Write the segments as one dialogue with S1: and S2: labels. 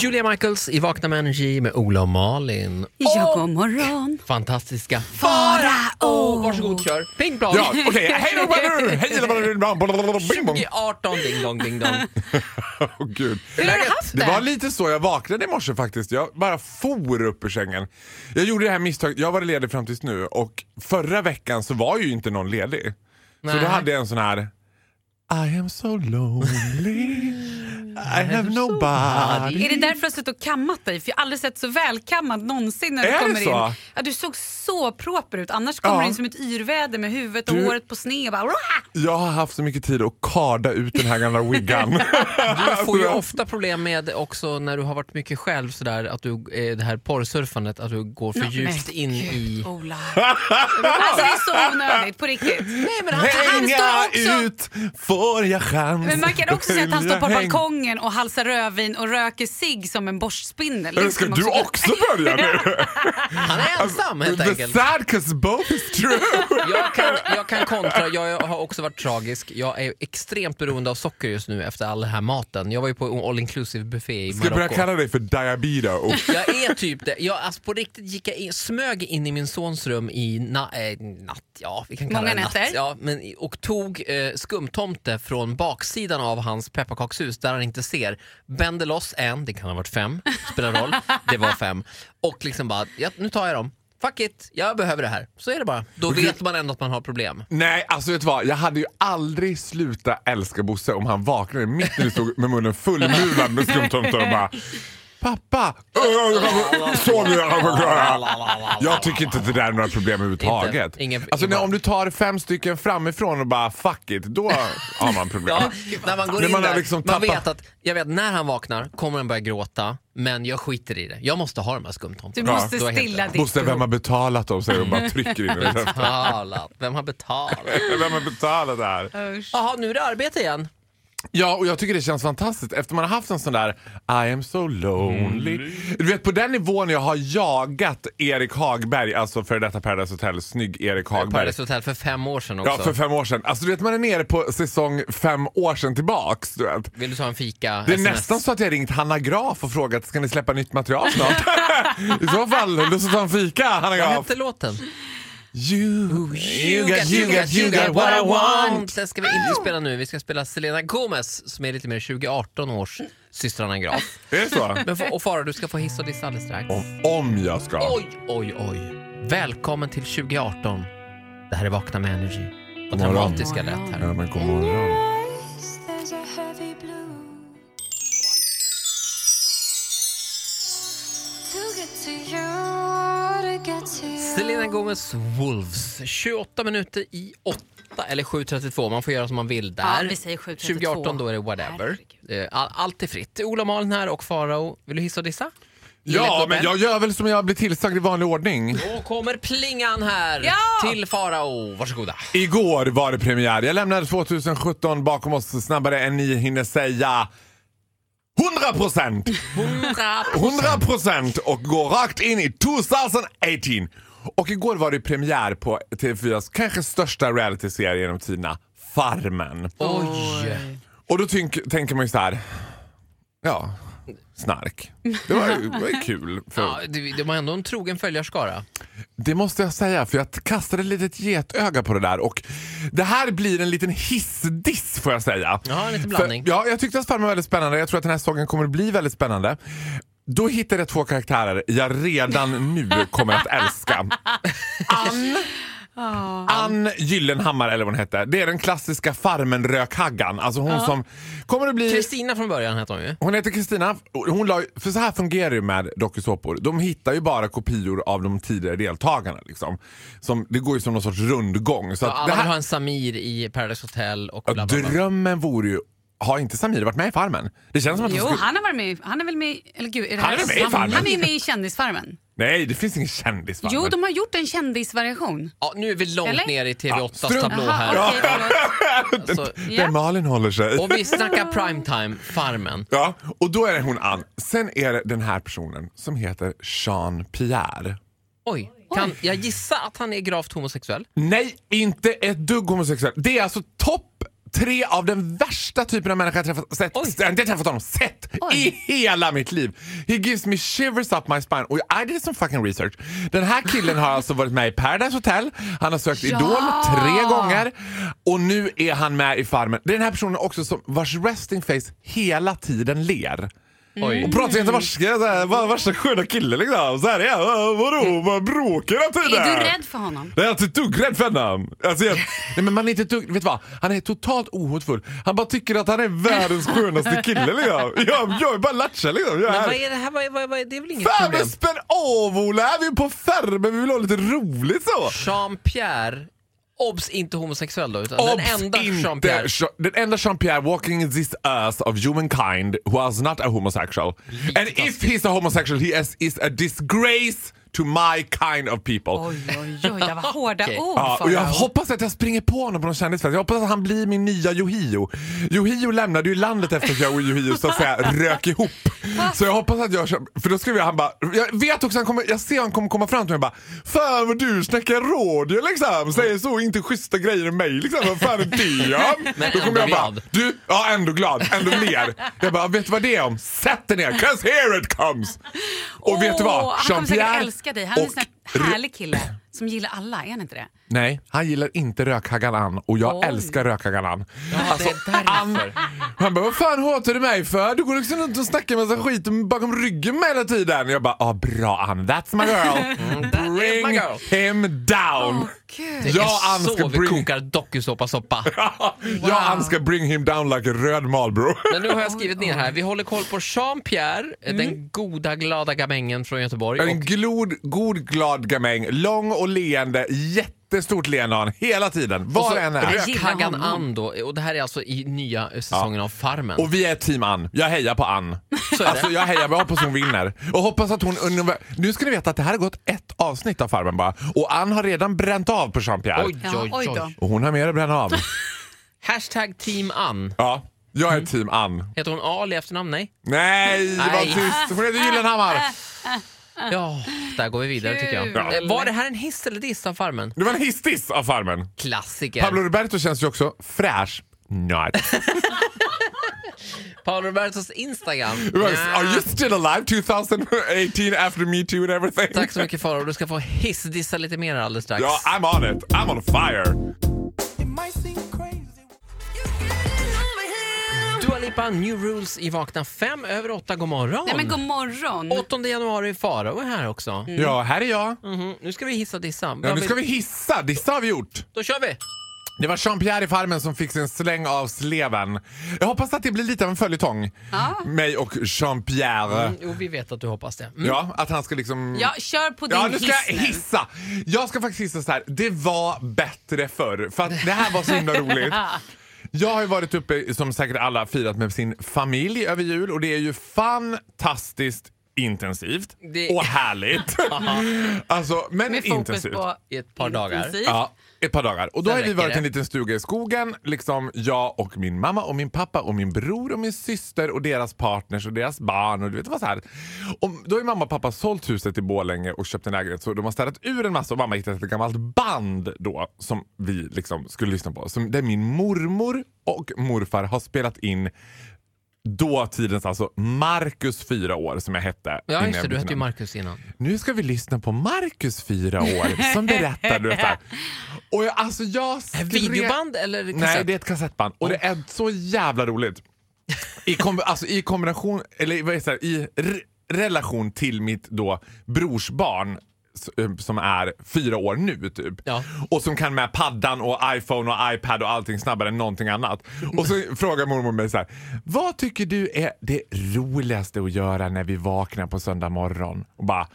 S1: Julia Michaels i Vakna med Energy med Ola och Malin.
S2: Ja, god morgon.
S1: Fantastiska Farao! Varsågod, kör. Ping plong!
S3: Ja, okej. Hej då, Baloo! Hej då, Baloo! Blablabla, bing, bong.
S1: 2018, ding dong, ding dong.
S3: Åh, gud.
S4: Hur har du haft
S3: Det
S4: det?
S3: var lite så jag vaknade i morse faktiskt. Jag bara for upp ur sängen. Jag gjorde det här misstaget. Jag var ledig fram tills nu och förra veckan så var ju inte någon ledig. Så
S1: Nej.
S3: då hade jag en sån här I am so lonely. I have nobody.
S2: Är det därför du har suttit och kammat dig? För jag har aldrig sett så välkammad någonsin när du
S3: Är det
S2: kommer
S3: så?
S2: in. Ja, du såg så proper ut. Annars kommer
S3: Ja.
S2: du in som ett yrväder med huvudet och
S3: Du-
S2: håret på sned. Och bara, "Wah!"
S3: Jag har haft så mycket tid att karda ut den här gamla wiggan.
S1: Du får ju ofta problem med också när du har varit mycket själv sådär att du, eh, det här porrsurfandet, att du går för djupt
S2: men
S1: in i...
S2: Ola. alltså, det är så onödigt, på riktigt.
S1: Nej, men
S3: Hänga
S2: Han står också-
S3: ut, får jag chans?
S2: Men man kan också se att han står på
S3: Jag häng-
S2: balkongen och halsar rödvin och röker sig som en borstspindel. Det
S3: Eller Ska
S2: skulle man
S3: du också börja nu?
S1: Han är
S3: Alltså,
S1: ensam helt
S3: The
S1: enkelt.
S3: sad cause both is true.
S1: Jag kan, jag kan kontra, jag har också varit tragisk. Jag är extremt beroende av socker just nu efter all den här maten. Jag var ju på all inclusive buffé i
S3: Ska jag börja
S1: Marocko.
S3: kalla dig för Diabedo?
S1: Jag är typ det. Jag, alltså på riktigt gick jag in, smög in i min sons rum i na, eh, natt, ja vi kan kalla
S2: Många
S1: det natt.
S2: nätter.
S1: Ja, men, i- och tog eh, skumtomte från baksidan av hans pepparkakshus där han inte ser. Bände loss en, det kan ha varit fem, spelar roll. Det var fem. Och liksom bara, ja, nu tar jag dem. Fuck it, jag behöver det här. Så är det bara. Då vet man ändå att man har problem.
S3: Nej, alltså vet du vad? Jag hade ju aldrig slutat älska Bosse om han vaknade mitt när du stod med munnen fullmulad med skumtomtar och bara Pappa! "Äh, Så nu jag får klara. Jag tycker inte att det där är några problem överhuvudtaget.
S1: Inte. Ingen-
S3: Alltså
S1: ingen-
S3: när, om du tar fem stycken framifrån och bara fuck it, då har man problem.
S1: Ja, när man går
S3: Men
S1: in
S3: man har
S1: där,
S3: liksom
S1: man
S3: tappat-
S1: vet att jag vet, när han vaknar kommer han börja gråta, men jag skiter i det. Jag måste ha de här
S2: Du
S1: skumtomtarna.
S2: måste
S1: Du har helt
S2: stilla
S1: rätt.
S2: ditt
S3: Bosse, vem
S2: behov.
S3: har betalat dem? Säger hon bara trycker in det.
S1: Betalat. Vem har betalat?
S3: Vem har betalat det här?
S2: Usch.
S1: Jaha, nu är det arbete igen.
S3: Ja, och jag tycker det känns fantastiskt efter man har haft en sån där I am so lonely. Du vet på den nivån jag har jagat Erik Hagberg, alltså före detta Paradise Hotel, snygg Erik Hagberg.
S1: Paradise Hotel för fem år sedan också.
S3: Ja, för fem år sedan. Alltså du vet man är nere på säsong fem år sedan tillbaks. Du vet.
S1: Vill du ta en fika?
S3: Det är
S1: SMS?
S3: nästan så att jag ringt Hanna Graf och frågat ska ni släppa nytt material snart? I så fall, lust att ta en fika Hanna
S1: Vad
S3: Graf.
S1: hette låten?
S3: You, you got, you got, you got what I want.
S1: Den ska vi inte spela nu. Vi ska spela Selena Gomez som är lite mer 2018 års systrarna Graf.
S3: Är det så?
S1: Men f- och Farao, du ska få hiss och diss alldeles strax.
S3: Om, om jag ska.
S1: Oj, oj, oj. Välkommen till 2018. Det här är Vakna med Energy. Och
S3: morgon.
S1: dramatiska lätt här.
S3: Ja, men god morgon.
S1: Selena Gomez Wolves. 28 minuter i 8 eller 7.32. Man får göra som man vill där.
S2: Ja, vi säger 7.32.
S1: 2018 då är det whatever. Eh, All, allt är fritt. Ola Malin här och Farao. Vill du hissa och dissa?
S3: Ja,
S1: Enligt
S3: men jag
S1: Nobel.
S3: gör väl som jag blir tillsagd i vanlig ordning.
S1: Då kommer plingan här
S2: Ja!
S1: till Farao. Varsågoda.
S3: Igår var det premiär. Jag lämnade 2017 bakom oss snabbare än ni hinner säga 100 procent!
S2: Mm.
S3: 100 procent och går rakt in i 2018! Och igår var det premiär på TV4s kanske största realityserie genom tiderna, Farmen.
S1: Oj.
S3: Och då tänk, tänker man ju så här, ja, snark. Det var ju det var ju kul. För,
S1: Ja, det, det var ändå en trogen följarskara.
S3: Det måste jag säga, för jag t- kastade ett litet getöga på det där. Och Det här blir en liten hissdiss får jag säga.
S1: Ja, en liten blandning.
S3: För, ja, jag tyckte att Farmen var väldigt spännande. Jag tror att den här säsongen kommer att bli väldigt spännande. Då hittade jag två karaktärer jag redan nu kommer att älska. Ann, Ann Gyllenhammar, eller vad hon hette. Det är den klassiska Farmen-rökhaggan. Alltså hon som kommer att bli...
S1: Kristina från början hette hon ju.
S3: Hon heter Kristina. Hon la, för så här fungerar det ju med dokusåpor. De hittar ju bara kopior av de tidigare deltagarna. Liksom. Som, det går ju som någon sorts rundgång. Så att
S1: Alla
S3: det
S1: vill ha
S3: här,
S1: en Samir i Paradise Hotel och bla bla bla.
S3: drömmen vore ju... Har inte Samir varit med i Farmen? Det känns som att hon
S2: Jo,
S3: skulle...
S2: han har varit med. i- Han är väl med i- eller gud, är det
S3: Han
S2: här
S3: är med i
S2: samma-
S3: Farmen.
S2: Han är med i Kändisfarmen.
S3: Nej, det finns ingen kändis Farmen.
S2: Jo, de har gjort en kändisvariation.
S1: Ja, nu är vi långt
S2: Eller?
S1: ner i TV8s
S3: strunt.
S1: tablå
S2: Jaha,
S1: här.
S2: okej, förlåt.
S1: Alltså,
S3: Där
S2: Ja.
S3: Malin håller sig.
S1: och vi snackar primetime, Farmen.
S3: Ja, och då är det hon Ann. Sen är det den här personen som heter Jean-Pierre.
S1: Oj, kan jag gissa att han är gravt homosexuell?
S3: Nej, inte ett dugg homosexuell. Det är alltså topp tre av den värsta typen av människor jag träffat, sett, st- inte träffat honom, sett i hela mitt liv. He gives me shivers up my spine. Och I did some fucking research. Den här killen har alltså varit med i Paradise Hotel, han har sökt
S2: Ja.
S3: Idol tre gånger och nu är han med i Farmen. Det är den här personen också som vars resting face hela tiden ler.
S1: Oj.
S3: Och pratar göteborgska, så här, va- värsta sköna killen liksom. Så här, ja, vadå, vad bråkar hela tiden?
S2: Är du rädd för honom?
S3: Nej, jag är inte ett dugg rädd för honom. Alltså, jag, nej, men man är inte ett dugg, vet du vad? Han är totalt ohotfull. Han bara tycker att han är världens skönaste kille. Liksom. Jag, jag är bara lattja liksom. Jag
S1: Men vad
S3: är,
S1: är det här? Vad är, vad är, vad är, det är väl inget
S3: Fan men
S1: problem?
S3: spänn av Ola! Här är Vi är på Fermen, vi vill ha lite roligt så.
S1: Jean-Pierre, obs inte homosexuell då, utan
S3: Obs,
S1: den enda
S3: inte
S1: Jean-Pierre.
S3: Jean- Den enda Jean-Pierre walking this earth of humankind who is not a homosexual. And if he's a homosexual he is, is a disgrace to my kind of people.
S2: Oj, oj, oj, det var hårda
S1: Okej.
S2: ord
S3: Ja, och jag
S2: Farao.
S3: hoppas att jag springer på honom på någon kändisfest. Jag hoppas att han blir min nya Yohio. Yohio lämnade ju landet efter att jag och Yohio så att säga rök ihop. Så jag hoppas att jag kör, för då skrev jag han bara, jag vet också han kommer, jag ser han kommer komma fram till mig och bara Fan vad du snackar radio liksom, säger så inte schyssta grejer om mig liksom, vad fan är det om?
S1: Men
S3: då
S1: ändå
S3: kommer jag bara,
S1: glad.
S3: du, ja ändå glad, ändå ler. Jag bara, vet du vad det är om? Sätt dig ner, 'cause here it comes! Och vet du vad?
S2: Åh, Han kommer säkert
S3: Jean-Pierre
S2: älska dig. Han är en
S3: och Mm.
S2: sån här härlig kille som gillar alla, är han inte det?
S3: Nej, han gillar inte rökhagalan och jag
S2: Oj.
S3: älskar rökhagalan.
S1: Alltså,
S3: Han, han bara, vad fan hatar du mig för? Du går liksom runt och snackar massa skit bakom ryggen med hela tiden. Jag bara, ah, bra Ann, that's my girl.
S1: Mm, is my
S3: Bring
S1: girl.
S3: him down.
S2: Gud.
S1: det
S3: Jag
S1: är så
S3: önskar
S1: vi
S3: bring,
S1: kokar dokusåpasoppa.
S3: jag önskar bring him down like a röd Marlboro.
S1: Men nu har jag skrivit ner här. Vi håller koll på Jean-Pierre,
S2: Mm.
S1: den goda glada gamängen från Göteborg.
S3: En
S1: Och
S3: glod, god glad gamäng, lång och leende, jättestort leende har han hela tiden. Var
S1: så
S3: än är.
S2: Jag gillar
S1: Rökhaggan
S2: honom.
S1: Ann då, och det här är alltså i nya eh, säsongen av Farmen.
S3: Och vi är team Ann. Jag hejar på Ann.
S1: Så är det.
S3: Alltså jag hejar, jag hoppas hon vinner. Och hoppas att hon... under- Nu ska ni veta att det här har gått ett avsnitt av Farmen bara. Och Ann har redan bränt av på Jean-Pierre.
S1: Oj,
S2: Ja,
S1: oj,
S2: oj
S1: oj.
S2: då.
S3: Och hon har mer att bränna av.
S1: Hashtag team Ann.
S3: Ja, jag är team Ann.
S1: Heter hon Ali i efternamn? Nej?
S3: Nej, vad
S1: Nej.
S3: tyst. Hon heter Gyllenhammar.
S1: Ja, där går vi vidare tycker jag.
S2: Ah. Kul.
S1: Eh, Var det här en hiss eller diss av Farmen?
S3: Det var en hiss-diss av Farmen.
S1: Klassiker.
S3: Pablo Roberto känns ju också fräsch. Not.
S1: Paolo Robertos Instagram.
S3: Are you still alive 2018 after me too and everything?
S1: Ah, Tack så mycket Farao. Du ska få hissdissa lite mer alldeles strax.
S3: Ja, I'm on it. I'm on
S1: Mm.
S3: fire. ah.
S1: Dua Lipa, New Rules i Vakna fem över åtta. God morgon!
S2: Nej men god morgon. Mm.
S1: 8 januari, Farao är här också.
S3: Ja, här är jag.
S1: Mhm, Nu ska vi hissa och dissa.
S3: Ja,
S1: Vad
S3: nu ska vi
S1: vill-
S3: hissa. Dissa har vi gjort.
S1: Då kör vi!
S3: Det var Jean-Pierre i Farmen som fick sin släng av sleven. Jag hoppas att det blir lite av en följetong. Mig och Jean-Pierre.
S1: Mm, Jo, vi vet att du hoppas det. Mm.
S3: Ja, att han ska liksom...
S2: Ja, kör på din
S3: Ja, nu ska
S2: hiss
S3: jag hissa. Jag ska faktiskt hissa så här. Det var bättre förr. För att det här var så himla roligt. Jag har ju varit uppe, som säkert alla, firat med sin familj över jul och det är ju fantastiskt intensivt
S1: Det-
S3: och härligt. alltså, men
S2: Med fokus
S3: intensivt.
S2: på
S1: I ett par dagar.
S2: intensivt.
S3: Ja, ett par dagar. Och då
S1: Sen
S3: har vi
S1: räcker
S3: varit i en
S1: det.
S3: liten stuga i skogen. Liksom jag och min mamma och min pappa och min bror och min syster och deras partners och deras barn. Och du vet vad så här. Och då har ju mamma och pappa sålt huset i Borlänge och köpt en lägenhet. Så de har städat ur en massa och mamma hittade ett gammalt band då som vi liksom skulle lyssna på. Som, där min mormor och morfar har spelat in dåtidens alltså Marcus fyra år som jag hette.
S1: Ja,
S3: innan
S1: just det.
S3: jag
S1: Du
S3: bytte
S1: hette ju
S3: namn.
S1: Marcus innan.
S3: Nu ska vi lyssna på Marcus fyra år som berättar. Du vet, så här. och jag, alltså jag skrev...
S1: Videoband eller kassett?
S3: Nej, det är ett kassettband. Och det är så jävla roligt. I, komb- alltså, i kombination, eller vad är det, så här, i re- relation till mitt då brorsbarn s- eh, som är fyra år nu typ.
S1: Ja.
S3: Och som kan med paddan och iPhone och iPad och allting snabbare än någonting annat. Och så frågar mormor mig så här. Vad tycker du är det roligaste att göra när vi vaknar på söndag morgon? Och bara,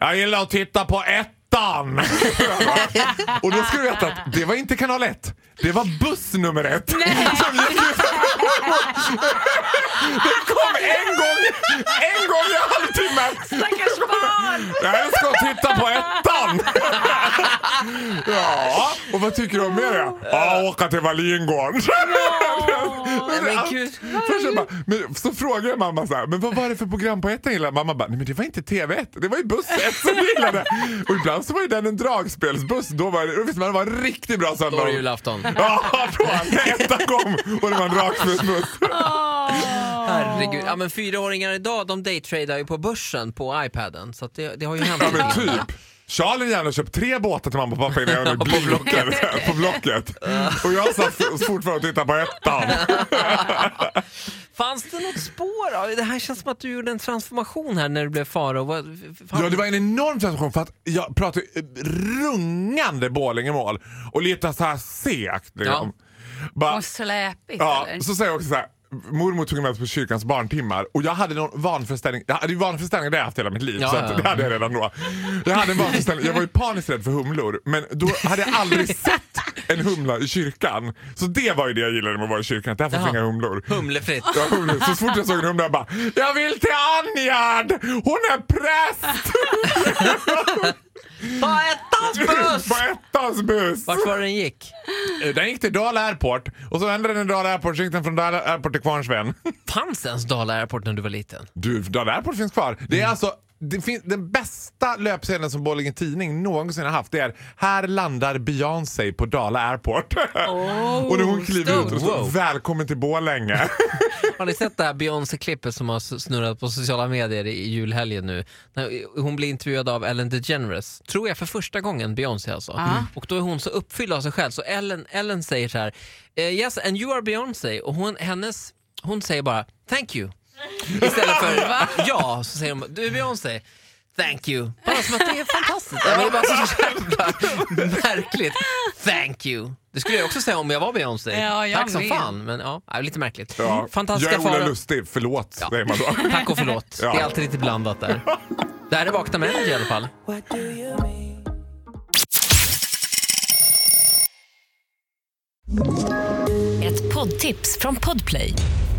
S3: jag gillar att titta på ettan! och då ska du veta att det var inte kanal 1. Det var buss nummer ett. Som gick ut. det kom en gång, en gång i halvtimmen.
S2: Stackars barn!
S3: Jag ska titta på ettan! ja, och vad tycker du om det? Ja, åka till Wallingården. men,
S1: men
S3: allt-
S1: gud.
S3: först jag bara, men, så frågar jag mamma så här, men vad var det för program på ettan jag gillade? Mamma bara, nej men det var inte TV1, det var ju buss 1 som jag gillade. Och ibland så var ju den en dragspelsbuss. Då var det, då visste man det var en riktigt bra
S1: Då var
S3: söndag.
S1: det julafton.
S3: Ja, från när ettan kom och det var en dragspelsbuss.
S1: Herregud. Ja, men fyraåringar idag de daytradar ju på börsen på iPaden. Så att det, det har ju hänt.
S3: Ja men typ. Charlie gärna köpt tre båtar till mamma och pappa innan jag hade
S1: På Blocket.
S3: blinkar på blocket. Och jag satt fortfarande och tittade på ettan.
S1: Fanns det något spår? av- Det här känns som att du gjorde en transformation här när du blev farao. Vad- fan-
S3: Ja, det var en enorm sensation för att jag pratade eh, rungande Borlängemål och lite så här segt. Liksom. Bara,
S2: Och släpigt
S3: ja,
S2: eller?
S3: så säger jag också så här. Mormor tog med oss på kyrkans barntimmar och jag hade någon vanföreställning. Jag hade ju vanföreställningar det har jag haft hela mitt liv
S1: Ja,
S3: så
S1: ja, ja.
S3: att, det hade jag redan då. Jag hade en vanföreställning. Jag var ju paniskt rädd för humlor men då hade jag aldrig sett en humla i kyrkan. Så det var ju det jag gillade med att vara i kyrkan. att Där
S1: Jaha.
S3: fanns inga humlor.
S1: Humlefritt.
S3: Ja, humlor. Så fort jag såg en humla jag bara Jag vill till Anjard! Hon är präst!
S1: Ta ettans
S3: På ettans buss!
S1: Vart var den gick?
S3: eh, Den gick till Dala Airport och så vände den i Dala Airport så gick den från Dala Airport till Kvarnsveden.
S1: Fanns ens Dala Airport när du var liten?
S3: Du, Dala Airport finns kvar. Det är alltså det fin- den bästa löpsedeln som Borlänge Tidning någonsin har haft. Det är Här landar Beyoncé på Dala Airport. och när hon kliver ut och står
S1: Wow.
S3: Välkommen till Borlänge.
S1: Har ni sett det här Beyoncé-klippet som har s- snurrat på sociala medier i julhelgen nu? När hon blir intervjuad av Ellen DeGeneres, tror jag för första gången, Beyoncé alltså. Och då är hon så uppfylld av sig själv så Ellen, Ellen säger så här, "Eh, Yes and you are Beyoncé och hon, hennes, hon säger bara Thank you. Istället för ja, så säger hon Du är Beyoncé. Thank you. Bara som att det är fantastiskt. Ja, men det är bara så jävla märkligt. Thank you. Det skulle jag också säga om jag var Beyoncé.
S2: Ja, jag
S1: Tack som
S2: med.
S1: fan. Men ja, det är lite märkligt.
S3: Ja. Jag
S1: Fantastiska
S3: är Ola
S1: faror.
S3: Lustig, förlåt
S1: Ja.
S3: säger man då.
S1: Tack och förlåt.
S3: Ja.
S1: Det är alltid lite blandat där. Det här är Vakna med Energy i alla fall.
S4: Ett poddtips från Podplay.